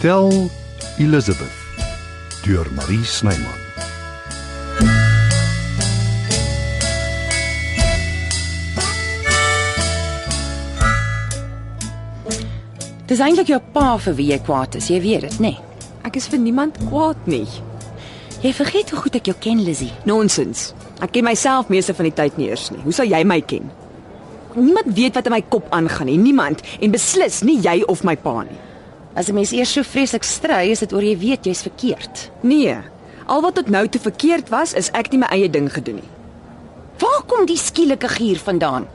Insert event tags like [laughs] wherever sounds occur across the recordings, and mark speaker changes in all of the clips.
Speaker 1: Tel Elizabeth deur Marie Snyman.
Speaker 2: Dis eintlik jou pa vir wie jy kwaad is, jy weet dit, nê? Nee.
Speaker 3: Ek is vir niemand kwaad nie.
Speaker 2: Jy vergeet hoe goed ek jou ken, Lizzy.
Speaker 3: Nonsens. Ek ken myself meeste van die tyd nie eers nie. Hoe sal jy my ken? Niemand weet wat in my kop aangaan nie, niemand en beslis nie jy of my pa nie.
Speaker 2: As 'n mens eers so vreeslik stry, is dit oor jy weet jy's verkeerd.
Speaker 3: Nee. Al wat tot nou toe verkeerd was, is ek nie my eie ding gedoen nie.
Speaker 2: Waar kom die skielike gier vandaan?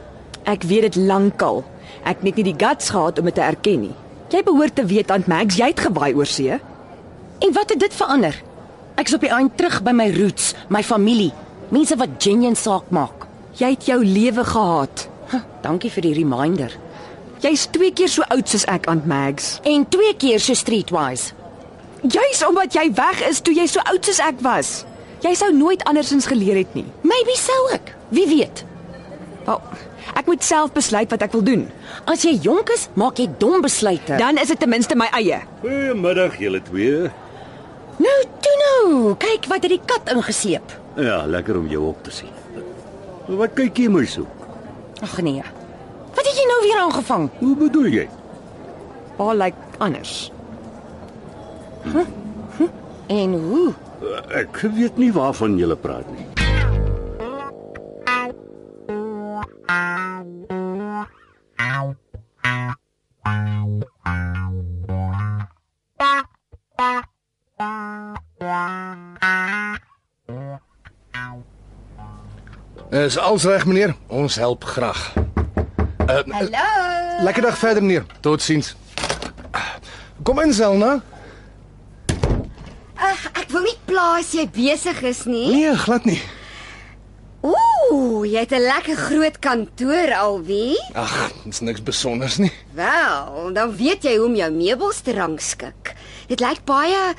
Speaker 3: Ek weet dit lankal. Ek het net nie die guts gehad om dit te erken nie. Jy behoort te weet, Aunt Max, jy het gewaai oor see.
Speaker 2: En wat het dit verander? Ek's op die eind terug by my roots, my familie, mense wat genuen saak maak.
Speaker 3: Jy het jou lewe gehaat.
Speaker 2: Huh, dankie vir die reminder.
Speaker 3: Jy's twee keer so oud soos ek, Aunt Max.
Speaker 2: En twee keer so streetwise.
Speaker 3: Juis omdat jy weg is toe jy so oud soos ek was. Jy sou nooit andersins geleer het nie.
Speaker 2: Maybe sou ek. Wie weet?
Speaker 3: Wel, ek moet self besluit wat ek wil doen.
Speaker 2: As jy jonk is, maak jy dom besluite.
Speaker 3: Dan is dit ten minste my eie.
Speaker 4: Goeiemiddag julle twee.
Speaker 2: nou, toe nou. Kyk wat het die kat ingesleep.
Speaker 4: Ja, lekker om jou op te sien. Wat kyk jy my so?
Speaker 2: Ag nee. Wat het jy nou weer aangevang?
Speaker 4: Hoe bedoel jy?
Speaker 3: Pa lyk anders.
Speaker 2: En hoe?
Speaker 4: Ek weet nie waarvan jy praat nie.
Speaker 5: Is alles reg meneer? Ons help graag. Eh,
Speaker 2: Hallo.
Speaker 5: Lekker dag verder meneer. Totsiens. Kom in Selna.
Speaker 6: Ag, ek wou nie plaas jy besig is nie.
Speaker 5: Nee, glad nie.
Speaker 6: Ooh, jy het 'n lekker groot kantoor alwie.
Speaker 5: Ag, dit's niks besonders nie.
Speaker 6: Wel, dan weet jy hoe om jou meubels te rangskik. Dit lyk baie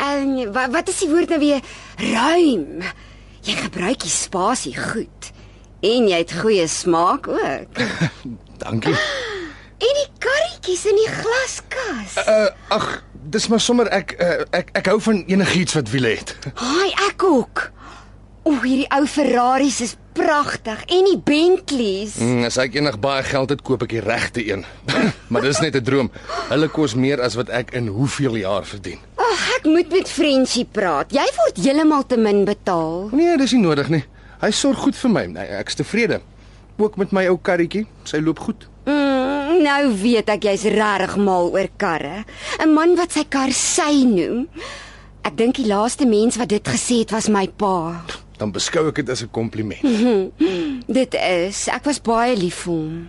Speaker 6: en wat, wat is die woord nou weer? Ruim. Jy gebruik die spasie goed. En jy het goeie smaak ook.
Speaker 5: Dankie.
Speaker 6: En die karretjies in die glaskas.
Speaker 5: Uh ag, dis maar sommer ek uh, ek ek hou van enigiets wat wiele het. [laughs]
Speaker 6: Haai, ek ook. O, hierdie ou Ferraris is pragtig en die Bentleys.
Speaker 5: Mm, as ek enig baie geld het, koop ek die regte een. [laughs] maar dis net 'n droom. Hulle kos meer as wat ek in hoeveel jaar verdien.
Speaker 6: Ag, ek moet met Frenchie praat. Jy word heeltemal te min betaal.
Speaker 5: Nee, dis nie nodig nie. Hy sorg goed vir my. Nee, Ek's tevrede. Ook met my ou karretjie. Sy loop goed.
Speaker 6: Mm, nou weet ek jy's regtig mal oor karre. 'n Man wat sy kar sy noem. Ek dink die laaste mens wat dit gesê het was my pa.
Speaker 5: Dan beskou ek dit as 'n kompliment.
Speaker 6: Dit is, ek was baie lief vir hom.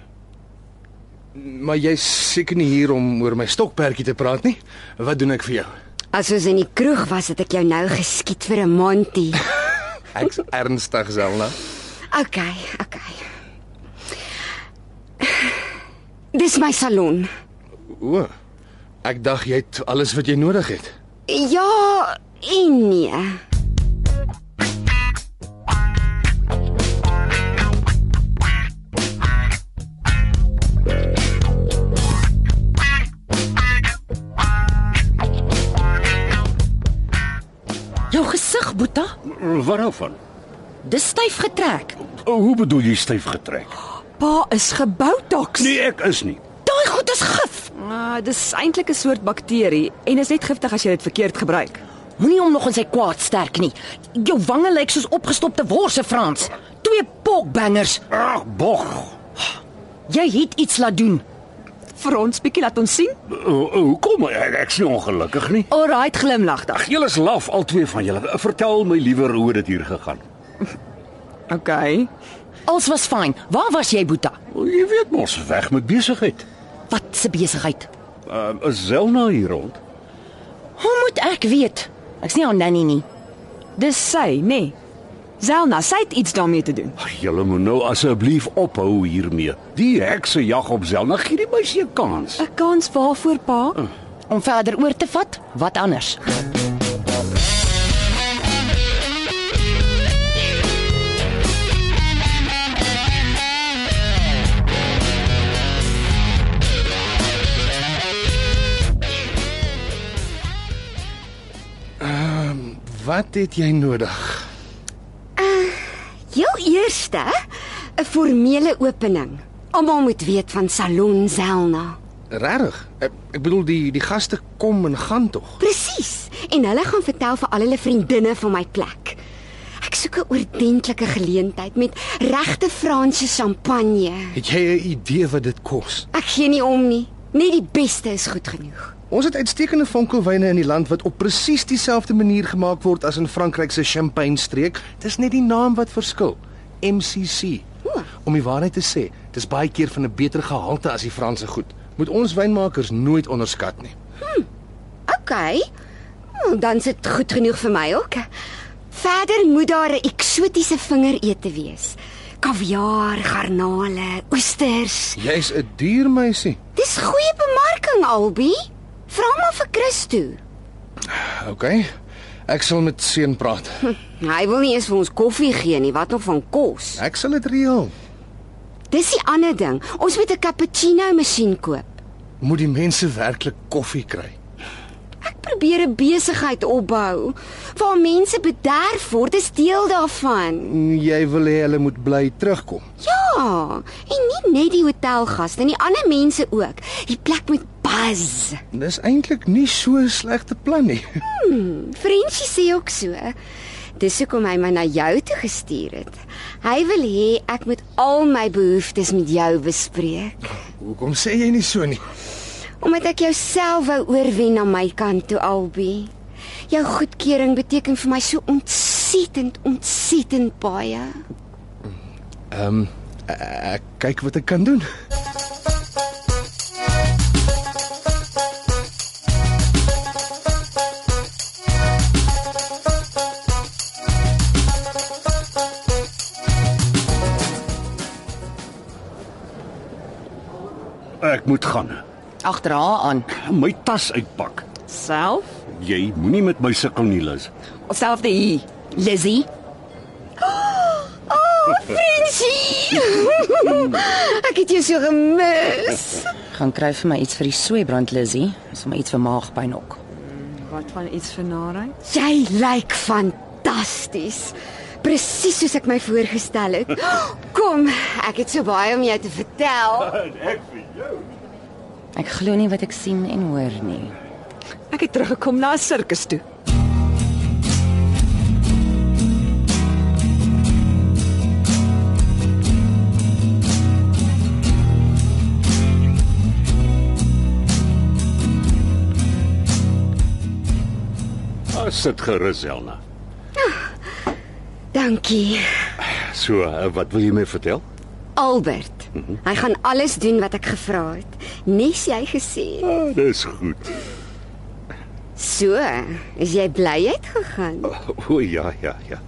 Speaker 5: Maar jy's seker nie hier om oor my stokperdjie te praat nie. Wat doen ek vir jou?
Speaker 6: As ons in die kroeg was, het ek jou nou geskiet vir 'n maandie.
Speaker 5: Ek's ernstig, Zelna.
Speaker 6: OK, OK. Dis my salon.
Speaker 5: O. Ek dink jy het alles wat jy nodig het.
Speaker 6: Ja en nee.
Speaker 2: Jou gesig, Boeta,
Speaker 4: Waarvan?
Speaker 2: dis styf getrek.
Speaker 4: Hoe bedoel jy styf getrek?
Speaker 3: Pa is gebou toks.
Speaker 4: Nee, ek is nie.
Speaker 2: Daai goed is gif.
Speaker 3: Ah, dis eintlik 'n soort bakterie en is net giftig as jy dit verkeerd gebruik.
Speaker 2: Moenie hom nog in sy kwaad sterk nie. Jou wange lyk soos opgestopte worse, Frans. Twee pokbangers.
Speaker 4: Ag, bog.
Speaker 2: Jy het iets laat doen.
Speaker 3: Vir ons bietjie laat ons sien.
Speaker 4: Hoekom ek ek's nie ongelukkig nie.
Speaker 3: Alraait glimlag dan.
Speaker 4: Ag, julle is laf al twee van julle. Vertel my liewer hoe dit hier gegaan.
Speaker 3: OK.
Speaker 2: Alles was fyn. Waar was jy, Boeta?
Speaker 4: Jy weet mos weg met besigheid.
Speaker 2: Wat se besigheid?
Speaker 4: Uh, is Zelna hier rond?
Speaker 2: Hoe moet ek weet? Ek's nie aan Nanny nie.
Speaker 3: Dis sy, nê? Nee. Zelna, sy het iets daarmee te doen.
Speaker 4: Ag, julle moet nou asseblief ophou hiermee. Die hekse jag op Zelna gee die meisie 'n kans.
Speaker 3: 'n Kans waarvoor, pa?
Speaker 2: Om verder oor te vat, wat anders?
Speaker 5: Wat het jy nodig?
Speaker 6: Heel eerste 'n formele opening. Almal moet weet van Salon Zelna.
Speaker 5: Regtig? Ek, ek bedoel die die gaste kom en gaan tog.
Speaker 6: Presies. En hulle gaan vertel vir al hulle vriendinne van my plek. Ek soek 'n oordentlike geleentheid met regte Franse champagne.
Speaker 5: Het jy 'n idee wat dit kos?
Speaker 6: Ek gee nie om nie. Net die beste is goed genoeg.
Speaker 5: Ons het uitstekende vonkelwyne in die land wat op presies dieselfde manier gemaak word as in Frankryk se Champagne streek. Dis net die naam wat verskil. MCC.
Speaker 6: O.
Speaker 5: Om die waarheid te sê, dis baie keer van 'n beter gehalte as die Franse goed. Moet ons wynmakers nooit onderskat nie.
Speaker 6: OK. Oh, Dan is dit goed genoeg vir my ook. Verder moet daar 'n eksotiese vingerete wees. Kaviaar, garnale, oesters.
Speaker 5: Jy's 'n duur meisie.
Speaker 6: Dis goeie bemarking, Albi. Vra maar vir Christo.
Speaker 5: OK. Ek sal met seun praat.
Speaker 6: Hy wil nie eens vir ons koffie gee nie, wat nog van kos.
Speaker 5: Ek sal dit reël.
Speaker 6: Dis die ander ding. Ons moet 'n cappuccino masjien koop.
Speaker 5: Moet die mense werklik koffie kry?
Speaker 6: Ek probeer 'n besigheid opbou waar mense bederf word, is deel daarvan.
Speaker 5: Jy wil hê hulle moet bly terugkom.
Speaker 6: Ja, en nie net die hotelgaste nie, ander mense ook. Die plek moet buzz.
Speaker 5: Dis eintlik nie so 'n slegte plan nie. [laughs]
Speaker 6: Frenchie sê ook so. Dis hoekom hy my na jou toe gestuur het. Hy wil hê ek moet al my behoeftes met jou bespreek.
Speaker 5: Hoekom sê jy nie so nie?
Speaker 6: Omdat ek jou self wou oorwen na my kant toe, Albi. Jou goedkeuring beteken vir my so ontsettend, ontsettend baie.
Speaker 5: Ek kyk wat ek kan doen.
Speaker 4: Ek moet gaan.
Speaker 2: Agter haar aan.
Speaker 4: My tas uitpak.
Speaker 3: Self?
Speaker 4: Jy moenie met my sukkel nie, Liz.
Speaker 3: Selfde hier.
Speaker 2: Lizzie,
Speaker 6: Frenchie! ek het jou so gemis.
Speaker 2: gaan kry vir my iets vir die sweebrand Lizzie, sommer iets vir maagpyn ook.
Speaker 3: Wat van iets vir Narai?
Speaker 6: Jy lyk fantasties. Presies soos ek my voorgestel het. [gasps] Kom, ek het so baie om jou te vertel.
Speaker 2: Ek glo nie wat ek sien en hoor nie.
Speaker 3: Ek het teruggekom na 'n sirkus toe.
Speaker 4: Ah, Sit gerus, Elna.
Speaker 6: Dankie,
Speaker 4: So, eh, wat wil jy my vertel?
Speaker 6: Albert. Hy gaan alles doen wat ek gevra het. Nes jy gesê?
Speaker 4: Ah, dis goed.
Speaker 6: So, is jy bly jy het gegaan?
Speaker 4: O ja, ja, ja.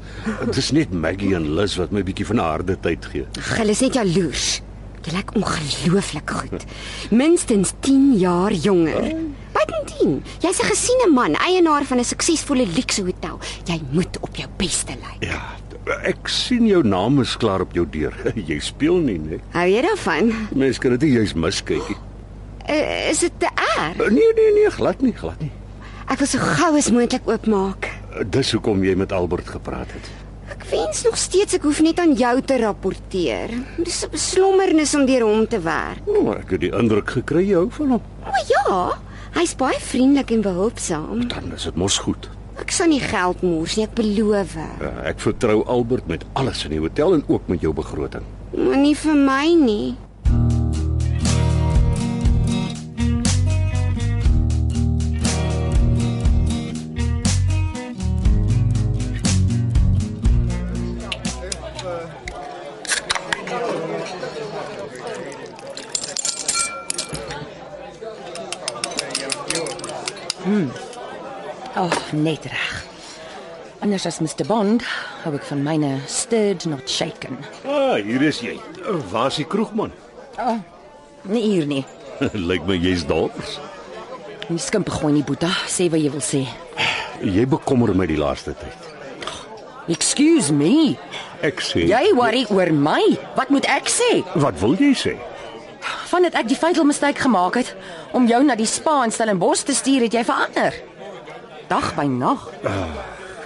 Speaker 4: Dit is net Maggie en Liz wat my bietjie van 'n harde tyd gee.
Speaker 6: Ag, hulle is net jaloers. Jy lyk ongelooflik goed. Minstens 10 jaar jonger. Wat in 10? Jy's 'n gesiene man, eienaar van 'n suksesvolle luukse hotel. Jy moet op jou beste lyk.
Speaker 4: Ja, ek sien jou naam is klaar op jou deur. [laughs] Jy speel nie, né?
Speaker 6: Hou jy daarvan?
Speaker 4: Mense kan dit nie juis miskyk nie.
Speaker 6: Uh, is dit te erg?
Speaker 4: Nee, nee, nee, glad nie, glad nie.
Speaker 6: Ek wil so gou as moontlik oopmaak.
Speaker 4: Eh, Dis hoekom jy met Albert gepraat het.
Speaker 6: Ek wens nog steeds ek hoef net aan jou te rapporteer. Dis 'n beslommernis om deur hom te werk.
Speaker 4: O, oh, ek het die indruk gekry jy hou van hom.
Speaker 6: O ja, hy's baie vriendelik en behulpsaam.
Speaker 4: Dan is dit mos goed.
Speaker 6: Ek sal nie geld mors nie, ek beloof.
Speaker 4: Eh, Ek vertrou Albert met alles in die hotel en ook met jou begroting.
Speaker 6: Maar nie vir my nie.
Speaker 2: Ag, oh, net reg. Anders as Mr Bond, hou ek van myne stirred not shaken.
Speaker 4: Ah, hier is jy. Waar's die kroegman?
Speaker 2: Nie hier nie.
Speaker 4: [laughs] Lyk my jy's dals.
Speaker 2: Nie skimp gooi nie, Boeta. Sê wat jy wil sê.
Speaker 4: Jy bekommer my die laaste tyd.
Speaker 2: Excuse me.
Speaker 4: Ek sê
Speaker 2: Jy worry oor my. Wat moet ek sê?
Speaker 4: Wat wil jy sê?
Speaker 2: Vandat ek die fatal mistake gemaak het om jou na die spa in Stellenbosch te stuur, het jy verander. Dag by nag.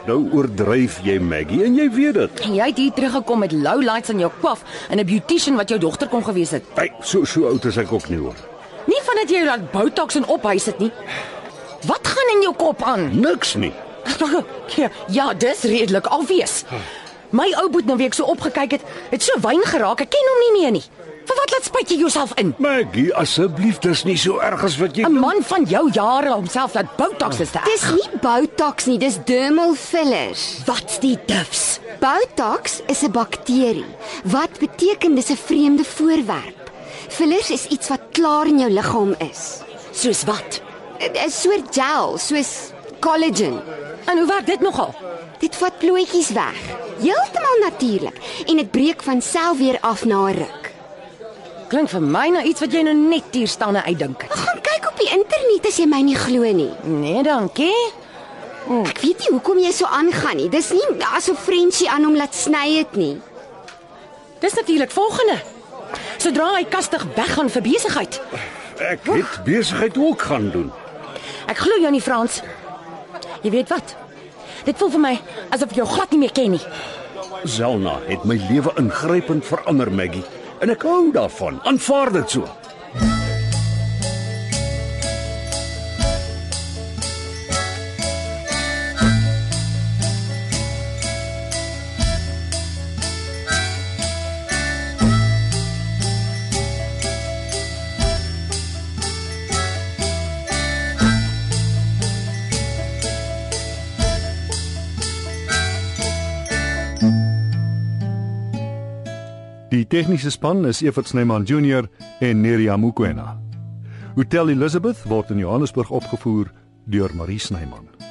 Speaker 4: Nou oordryf jy Maggie en jy weet dit.
Speaker 2: En jy het hier teruggekom met low lights in jou kwaf en 'n beautician wat jou dogter kon gewees het.
Speaker 4: Hey, so so oud is ek ook nie hoor.
Speaker 2: Nie van dat jy jou laat botox en ophuis het nie. Wat gaan in jou kop aan?
Speaker 4: Niks nie.
Speaker 2: Ja, dis redelik obvious. My ou boet nou week so opgekyk het, het so wyn geraak. Ek ken hom nie meer nie. Vir wat laat spyt jy jouself in?
Speaker 4: Maggie, asseblief, dis nie so erg as wat jy
Speaker 2: 'n Man van jou jare homself laat botox is te erg.
Speaker 6: Dis nie Botox nie, dis dermal fillers.
Speaker 2: wat die dufs.
Speaker 6: Botox is 'n bakterie wat beteken dis 'n vreemde voorwerp. Fillers is iets wat klaar in jou liggaam is.
Speaker 2: Soos wat?
Speaker 6: 'n 'n soort gel, soos collagen.
Speaker 2: En hoe werk dit nogal?
Speaker 6: Dit vat plooitjies weg, heeltemal natuurlik en dit breek van self weer af na 'n ruk.
Speaker 2: Klink vir my na iets wat jy nou net hier staan en uitdink het.
Speaker 6: Gaan kyk op die internet as jy my nie glo nie.
Speaker 2: Nee, dankie.
Speaker 6: Ek weet nie hoekom jy so aangaan nie. Dis nie asof Frenchie aan hom laat sny het nie.
Speaker 2: Dis natuurlik volgende. Sodra hy kastig weggaan vir besigheid.
Speaker 4: Ek het besigheid ook gaan doen.
Speaker 2: Ek glo jou nie, Frans. Jy weet wat? Dit voel vir my asof jy jou glad nie meer ken nie.
Speaker 4: Zelna het my lewe ingrypend verander, Maggie, en ek hou daarvan. Aanvaar dit so.
Speaker 1: Die tegniese span is Evert Snyman Junior en Neriya Mukwena. Hotel Elizabeth word in Johannesburg opgevoer deur Marie Snyman.